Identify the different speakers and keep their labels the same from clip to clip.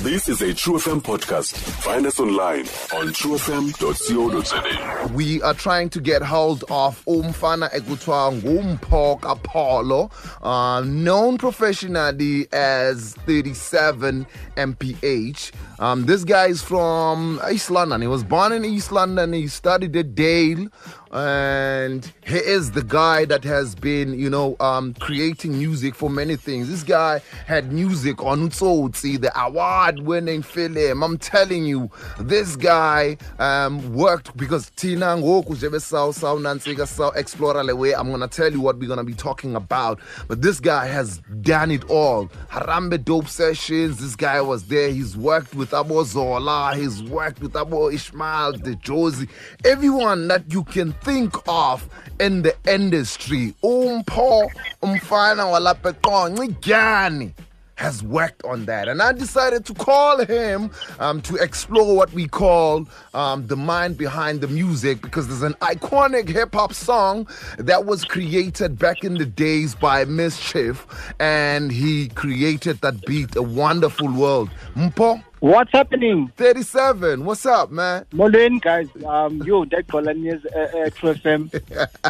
Speaker 1: This is a True FM podcast. Find us online on truefm.co.za.
Speaker 2: we are trying to get hold of umfana ekuthiwa ngumpho kapolo uh, known professionally as 37 mph um, this guy is from east london he was born in east london he studied at dale and he is the guy that has been you know um, creating music for many things this guy had music on Utsotsi, the award winning film i'm telling you this guy um, worked because Tina Ngoku Jebe Sao Sao Nansika Sao Explorer Lewe. I'm gonna tell you what we're gonna be talking about. But this guy has done it all. Harambe Dope Sessions, this guy was there. He's worked with Abo Zola, he's worked with Abo Ishmael, the Josie, everyone that you can think of in the industry. Umpo Umfana Walapekon Gani has worked on that. And I decided to call him um, to explore what we call um, the mind behind the music because there's an iconic hip hop song that was created back in the days by Mischief and he created that beat, A Wonderful World. Mpo,
Speaker 3: What's happening?
Speaker 2: 37, what's up, man?
Speaker 3: Molweni guys. Um, yo, that Golani is uh, uh, True FM.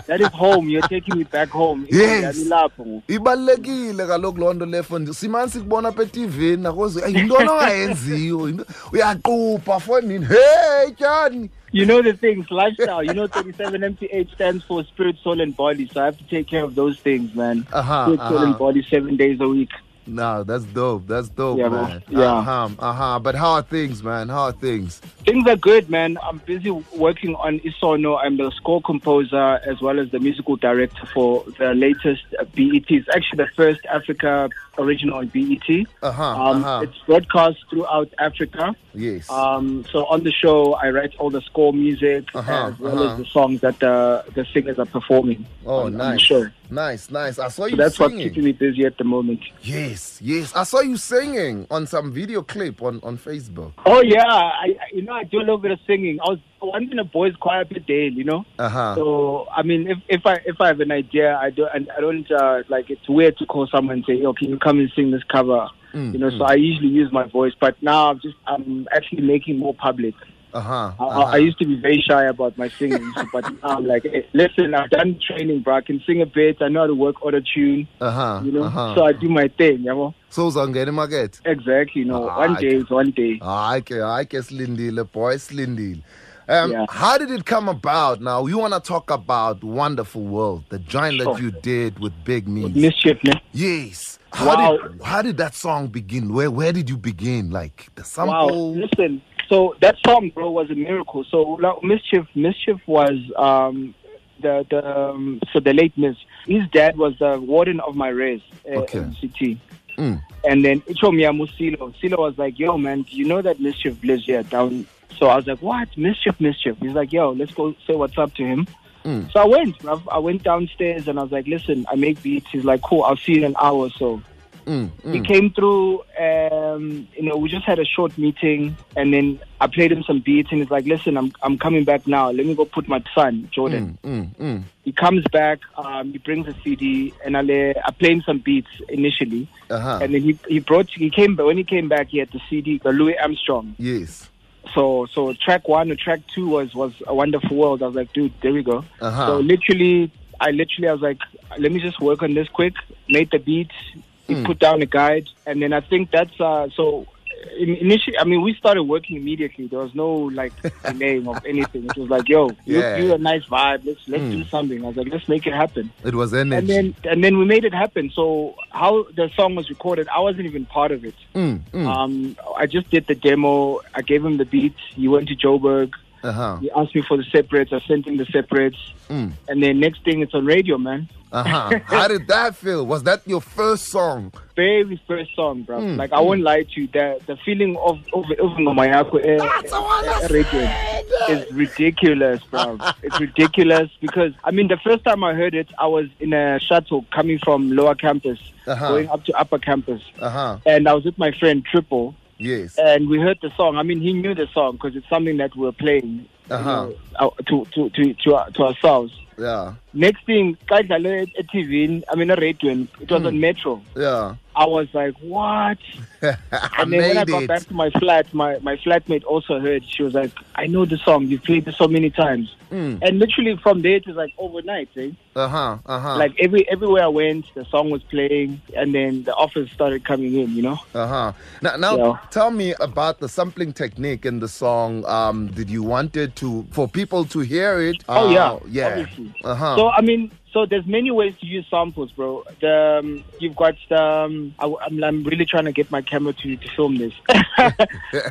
Speaker 3: That is home. You're taking me back home.
Speaker 2: Yes.
Speaker 3: Ngiyalilapho.
Speaker 2: ibalulekile kaloku loo nto lefo ndi- simane sikubona apha e etivini nakozi yintoni ongayenziyo yinto- uyaqupha fonini heyi tyani
Speaker 3: You know the things, lifestyle. You know, 37 MCH stands for spirit, soul, and body. So I have to take care of those things, man.
Speaker 2: Uh-huh,
Speaker 3: spirit, soul,
Speaker 2: uh-huh.
Speaker 3: and body seven days a week.
Speaker 2: No, that's dope. That's dope,
Speaker 3: Yeah,
Speaker 2: man.
Speaker 3: man. Yeah.
Speaker 2: Uh-huh, uh-huh. But how are things, man? How are things?
Speaker 3: Things are good, man. I'm busy working on Isono. I'm the score composer as well as the musical director for the latest uh, BET. It's actually the first Africa original on BET.
Speaker 2: Uh-huh,
Speaker 3: Um,
Speaker 2: uh-huh.
Speaker 3: It's broadcast throughout Africa.
Speaker 2: Yes.
Speaker 3: Um, so on the show, I write all the score music
Speaker 2: Uh-huh,
Speaker 3: as well
Speaker 2: uh-huh.
Speaker 3: as the songs that the, the singers are performing.
Speaker 2: oh,
Speaker 3: on, on the
Speaker 2: nice.
Speaker 3: show.
Speaker 2: Nice, nice. I saw
Speaker 3: So
Speaker 2: you
Speaker 3: that's what's
Speaker 2: singing.
Speaker 3: keeping me busy at the moment.
Speaker 2: yes, yes. I saw you singing on some video clip on, on Facebook.
Speaker 3: Oh yeah, I I- you know I do a little bit of singing. I was once in a boys' choir per day, you know.
Speaker 2: Uh-huh.
Speaker 3: So I mean, if if I if I have an idea, I don't and I don't uh, like it's weird to call someone and say, "Yo, can you come and sing this cover?"
Speaker 2: Mm,
Speaker 3: you know. So I usually use my voice, but now I'm just I'm actually making more public.
Speaker 2: uh-huh.
Speaker 3: I,
Speaker 2: uh-huh.
Speaker 3: Uh, I I used to be very shy about my singing, so- but now I'm like, hey, listen, I've done training, bro. I can sing a bit. I know how to work auto tune,
Speaker 2: uh-huh.
Speaker 3: you know.
Speaker 2: uh-huh.
Speaker 3: So I do my thing, you know.
Speaker 2: so uzawungena emakethe
Speaker 3: Exactly, you know.
Speaker 2: Ah,
Speaker 3: one
Speaker 2: I-
Speaker 3: day is one day.
Speaker 2: hayi ke hayi ke silindile boy silindile um,
Speaker 3: Yeah.
Speaker 2: how did it come about now we want to talk about wonderful world the joint that
Speaker 3: Sure.
Speaker 2: you did with big means
Speaker 3: Mischief, man.
Speaker 2: Yes. How
Speaker 3: Wow.
Speaker 2: did how did that song begin? Where where did you begin? Like the
Speaker 3: Wow,
Speaker 2: sample.
Speaker 3: listen. So that song, bro, was a miracle. So like, mischief, mischief was um, the the um, so the late miss. His dad was the warden of my res uh,
Speaker 2: Okay.
Speaker 3: MCT.
Speaker 2: Mm.
Speaker 3: And then Ichomiyamu Silo. Silo was like, yo, man, do you know that Mischief lives here down? So I was like, what? Mischief, Mischief. He's like, yo, let's go say what's up to him.
Speaker 2: Mm.
Speaker 3: So I went, bruv. I went downstairs and I was like, listen, I make beats. He's like, cool, I'll see you in an hour or so.
Speaker 2: Mm,
Speaker 3: He
Speaker 2: mm.
Speaker 3: came through, um, you know, we just had a short meeting and then I played him some beats and he's like, listen, I'm, I'm coming back now. Let me go put my son, Jordan.
Speaker 2: Mm, mm, mm.
Speaker 3: He comes back, um, he brings a CD and I, lay, I play him some beats initially.
Speaker 2: Uh-huh.
Speaker 3: And then he, he brought he came but when he came back he had the CD the Louis Armstrong.
Speaker 2: Yes.
Speaker 3: So so track one or track two was was a wonderful world. I was like, dude, there we go.
Speaker 2: Uh-huh.
Speaker 3: So literally I literally I was like, let me just work on this quick. Made the beat, he
Speaker 2: Mm.
Speaker 3: put down a guide, and then I think that's uh so. In, initially, I mean, we started working immediately. There was no like delaying of anything. It was like, yo,
Speaker 2: Yeah.
Speaker 3: you, you're a nice vibe. Let's let's
Speaker 2: Mm.
Speaker 3: do something. I was like, let's make it happen
Speaker 2: It was energy.
Speaker 3: and then and then we made it happen. So how the song was recorded, I wasn't even part of it.
Speaker 2: mm, mm.
Speaker 3: Um, I just did the demo. I gave him the beat. He went to Joburg.
Speaker 2: uh-huh.
Speaker 3: He asked me for the separates. I sent him the separates.
Speaker 2: Mm.
Speaker 3: And then next thing, it's on radio, man.
Speaker 2: Uh-huh. how did that feel? Was that your first song?
Speaker 3: Very first song, bro.
Speaker 2: Mm,
Speaker 3: Like I won't lie to you, the the feeling of of of Ngomayako, eh, eh, radio is ridiculous, bro. it's ridiculous because I mean the first time I heard it, I was in a shuttle coming from lower campus,
Speaker 2: Uh-huh.
Speaker 3: going up to upper campus.
Speaker 2: Uh-huh.
Speaker 3: and I was with my friend Triple,
Speaker 2: Yes.
Speaker 3: and we heard the song. I mean, he knew the song because it's something that we are playing you uh,
Speaker 2: Uh-huh.
Speaker 3: know, out- to, to, to, to, our- to ourselves.
Speaker 2: yeah,
Speaker 3: Next thing, xa idlalwe e- eTV, I mean eRadioen, it was on Metro.
Speaker 2: yeah.
Speaker 3: I was like, what?
Speaker 2: I
Speaker 3: And then when I
Speaker 2: made
Speaker 3: got back
Speaker 2: it.
Speaker 3: to my flat, my, my flatmate also heard. She was like, I know the song. You've played this so many times.
Speaker 2: Mm.
Speaker 3: And literally from there, it was like overnight. Eh?
Speaker 2: Uh huh. Uh huh.
Speaker 3: Like every everywhere I went, the song was playing, and then the offers started coming in. You know,
Speaker 2: Uh huh. Now, now
Speaker 3: Yeah.
Speaker 2: tell me about the sampling technique in the song. Um, did you want it to for people to hear it?
Speaker 3: Oh, yeah,
Speaker 2: yeah.
Speaker 3: obviously.
Speaker 2: Uh huh.
Speaker 3: so I mean, so there's many ways to use samples, bro. The um, you've got the um, I, am I'm really trying to get my camera to, to film this.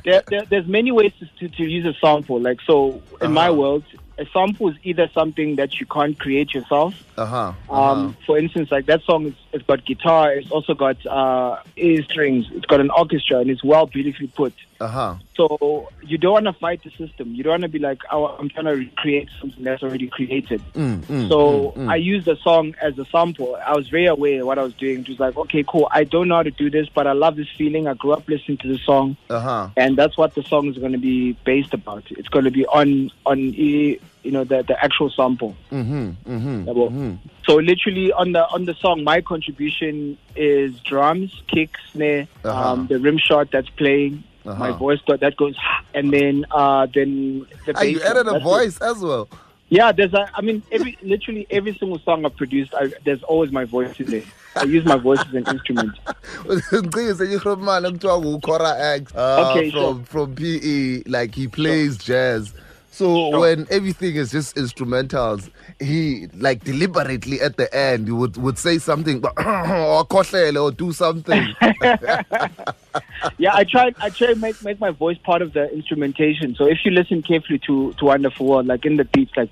Speaker 3: there, there, there's many ways to, to, to use a sample. Like so, in my
Speaker 2: Uh-huh.
Speaker 3: world, a sample is either something that you can't create yourself.
Speaker 2: uh huh.
Speaker 3: Um, For instance, like that song, is, it's got guitar, it's also got uh, ear strings, it's got an orchestra, and it's well beautifully put.
Speaker 2: Uh huh.
Speaker 3: So you don't want to fight the system. You don't want to be like, oh, I'm trying to recreate something that's already created.
Speaker 2: Mm, mm,
Speaker 3: So
Speaker 2: mm, mm.
Speaker 3: I used the song as a sample. I was very aware of what I was doing. It was like, okay, cool. I don't know how to do this, but I love this feeling. I grew up listening to the song,
Speaker 2: Uh huh.
Speaker 3: and that's what the song is going to be based about. It's going to be on on e- you know the the actual sample.
Speaker 2: Mhm. Mhm.
Speaker 3: Yabo.
Speaker 2: mhm.
Speaker 3: So literally on the on the song, my contribution is drums, kick, snare,
Speaker 2: Uh-huh.
Speaker 3: um, the rim shot that's playing,
Speaker 2: Uh-huh.
Speaker 3: my voice that that goes, and then uh, then the
Speaker 2: Ah, you
Speaker 3: bass line.
Speaker 2: added a
Speaker 3: That's it.
Speaker 2: voice as well.
Speaker 3: Yeah, there's a. I mean, every literally every single song I've produced, I, there's always my voice in there. I use my voice as an instrument.
Speaker 2: Ngcikise iHrobman ekuthiwa nguKora X uh,
Speaker 3: Okay,
Speaker 2: from
Speaker 3: sure.
Speaker 2: from PE like he plays jazz. So
Speaker 3: Sure.
Speaker 2: when everything is just instrumentals, he like deliberately at the end you would would say something or khohlele or do something.
Speaker 3: Yeah, I try. I try to make make my voice part of the instrumentation. So if you listen carefully to to Wonderful World, like in the beats, like.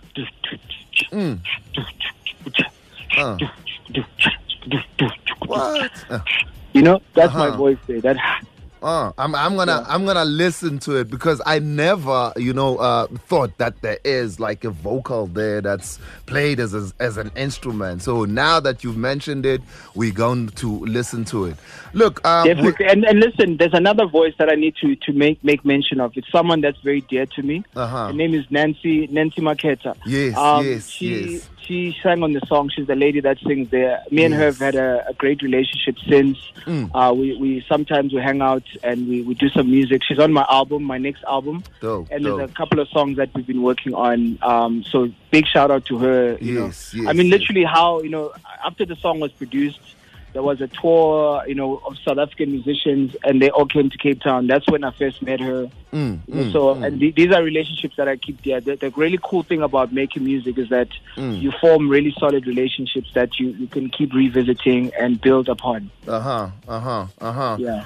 Speaker 2: Mm. Uh, what? Uh,
Speaker 3: You know, that's
Speaker 2: Uh-huh.
Speaker 3: my voice there. That
Speaker 2: Uh, I'm I'm gonna I'm gonna listen to it because I never you know uh, thought that there is like a vocal there that's played as a, as an instrument. So now that you've mentioned it, we're going to listen to it. Look, um, we-
Speaker 3: Definitely. And, and listen, there's another voice that I need to, to make, make mention of. It's someone that's very dear to me.
Speaker 2: Uh-huh.
Speaker 3: Her name is Nancy Nancy Marqueta.
Speaker 2: Yes, yes,
Speaker 3: she,
Speaker 2: yes.
Speaker 3: She sang on the song. She's the lady that sings there. Me and her
Speaker 2: Yes. Mm.
Speaker 3: have had a, a great relationship since. Uh, we, we sometimes we hang out and we, we do some music. She's on my album, my next album.
Speaker 2: Dope,
Speaker 3: and
Speaker 2: dope.
Speaker 3: there's a couple of songs that we've been working on. Um, so big shout out to her. You
Speaker 2: Yes,
Speaker 3: know.
Speaker 2: yes,
Speaker 3: I mean,
Speaker 2: yes.
Speaker 3: literally, how you know after the song was produced, there was a tour, you know, of South African musicians, and they all came to Cape Town. That's when I first met her.
Speaker 2: mm, mm,
Speaker 3: so, and th- these are relationships that I keep there. The, the really cool thing about making music is that
Speaker 2: Mm.
Speaker 3: you form really solid relationships that you, you can keep revisiting and build upon.
Speaker 2: uh huh, uh huh, uh huh.
Speaker 3: Yeah.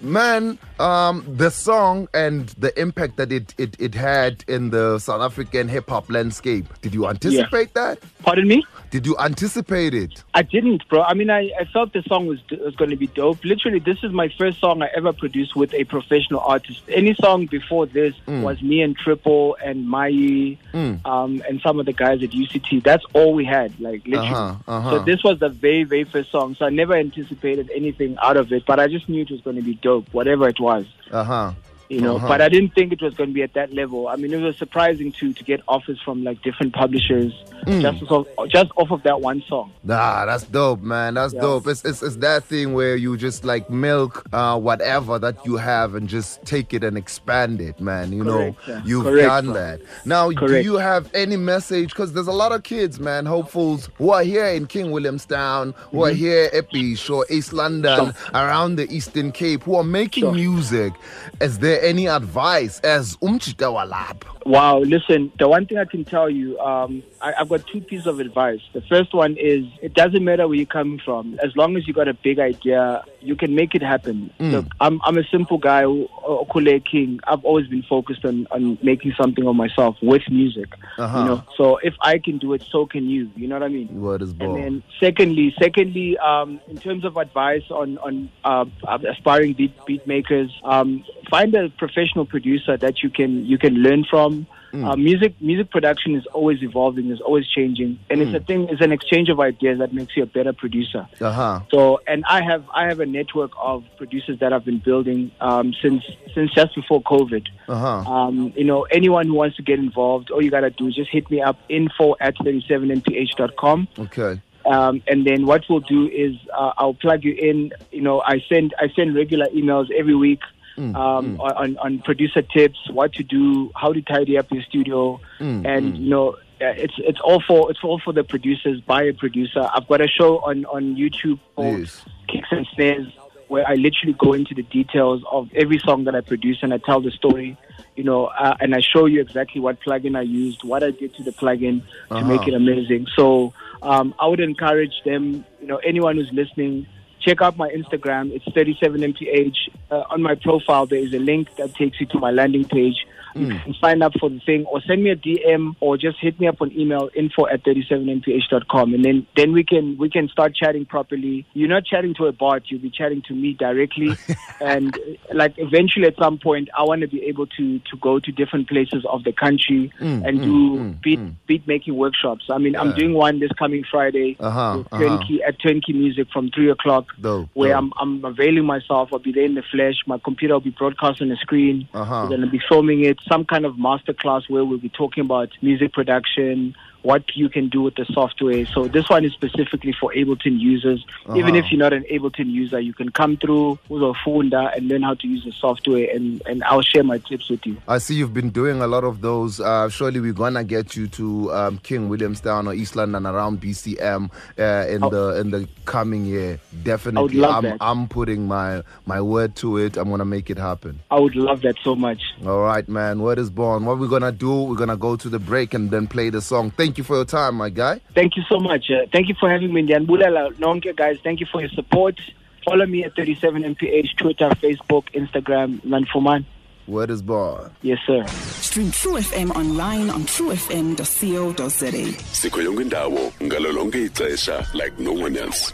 Speaker 2: Man, um, the song and the impact that it, it, it had in the South African hip hop landscape. Did you anticipate that?
Speaker 3: Pardon me.
Speaker 2: Did you anticipate it?
Speaker 3: I didn't, bro. I mean, I, I felt the song was was going to be dope. Literally, this is my first song I ever produced with a professional artist. Any song before this
Speaker 2: Mm.
Speaker 3: was me and Triple and Mayi um, and some of the guys at UCT. That's all we had, like literally.
Speaker 2: Uh-huh, uh-huh.
Speaker 3: So this was the very, very first song. So I never anticipated anything out of it, but I just knew it was going to be dope, whatever it was
Speaker 2: Uh huh.
Speaker 3: you know.
Speaker 2: Uh-huh.
Speaker 3: But I didn't think it was going to be at that level. I mean, it was surprising to to get offers from like different publishers
Speaker 2: Mm.
Speaker 3: just off, just off of that one song.
Speaker 2: Nah, that's dope, man. That's
Speaker 3: Yeah.
Speaker 2: dope. It's, it's it's that thing where you just like milk uh, whatever that you have and just take it and expand it, man. You
Speaker 3: Correct,
Speaker 2: know,
Speaker 3: yeah.
Speaker 2: you've
Speaker 3: Correct,
Speaker 2: done
Speaker 3: bro.
Speaker 2: that. Now, do
Speaker 3: Correct.
Speaker 2: you have any message? Because there's a lot of kids, man, hopefuls who are here in King Williamstown, who
Speaker 3: Mm-hmm.
Speaker 2: are here at Beach or East London, around the Eastern Cape, who are making
Speaker 3: Sure.
Speaker 2: music. Is there any advice as umchita walap?
Speaker 3: Wow, listen, the one thing I can tell you, um, I, I've got two pieces of advice. The first one is it doesn't matter where you're coming from, as long as you got a big idea, you can make it happen. Look, I'm, I'm a simple guy, who- uh, Okule King. I've always been focused on, on making something of myself with music.
Speaker 2: Uh-huh.
Speaker 3: You know, so if I can do it, so can you. You know what I mean?
Speaker 2: Word is
Speaker 3: And
Speaker 2: born.
Speaker 3: then, secondly, secondly, um, in terms of advice on on uh, aspiring beat beat makers, um, find a professional producer that you can you can learn from. Uh, music music production is always evolving, is always changing, and it's a thing. It's an exchange of ideas that makes you a better producer.
Speaker 2: Uh huh.
Speaker 3: So, and I have I have a network of producers that I've been building um, since since just before COVID.
Speaker 2: Uh-huh.
Speaker 3: Um, you know, anyone who wants to get involved, all you gotta do is just hit me up info at 37mph.com.
Speaker 2: Okay.
Speaker 3: Um, and then what we'll do is uh, I'll plug you in. You know, I send I send regular emails every week um, On, on producer tips, what to do, how to tidy up your studio, and you know. uh, It's it's all for it's all for the producers by a producer. I've got a show on on YouTube called
Speaker 2: Yes.
Speaker 3: Kicks and Snares where I literally go into the details of every song that I produce and I tell the story, you know, uh, and I show you exactly what plugin I used, what I did to the plugin to make it amazing. So um, I would encourage them, you know, anyone who's listening, check out my Instagram. It's 37mph. Uh, on my profile, there is a link that takes you to my landing page. You
Speaker 2: Mm.
Speaker 3: can sign up for the thing or send me a DM or just hit me up on email info at 37mph.com and then, then we can we can start chatting properly. You're not chatting to a bot, you'll be chatting to me directly. and uh, like eventually at some point I want to be able to to go to different places of the country
Speaker 2: Mm,
Speaker 3: and do beat beat making workshops. I mean I'm doing one this coming Friday
Speaker 2: Uh-huh,
Speaker 3: with
Speaker 2: uh-huh.
Speaker 3: Turnkey at Turnkey Music from three o'clock
Speaker 2: Dope,
Speaker 3: where
Speaker 2: dope.
Speaker 3: I'm I'm availing myself. I'll be there in the flesh. My computer will be broadcast on the screen.
Speaker 2: Uh-huh.
Speaker 3: We're going to be filming it. Some kind of masterclass where we'll be talking about music production, what you can do with the software. So this one is specifically for Ableton users. Even if you're not an Ableton user, you can come through with a founder and learn how to use the software. And, and I'll share my tips with you.
Speaker 2: I see you've been doing a lot of those. Uh, surely we're gonna get you to um, King Williamstown or East London around BCM uh, in the in the coming year. Definitely,
Speaker 3: Oh. love
Speaker 2: I'm
Speaker 3: that.
Speaker 2: I'm putting my my word to it. I'm gonna make it happen.
Speaker 3: I would love that so much.
Speaker 2: All right, man. Word is born. What we're gonna do? We're gonna go to the break and then play the song. Thank you for your time, my guy.
Speaker 3: Thank you so much. Uh, thank you for having me, Ndian Bulala. Nonke, guys, thank you for your support. Follow me at 37MPH, Twitter, Facebook, Instagram, Nanfuman.
Speaker 2: Word is born.
Speaker 3: Yes, sir.
Speaker 4: Stream True FM online on truefm.co.za.
Speaker 1: sikho yonke indawo ngalolonke ixesha like no one else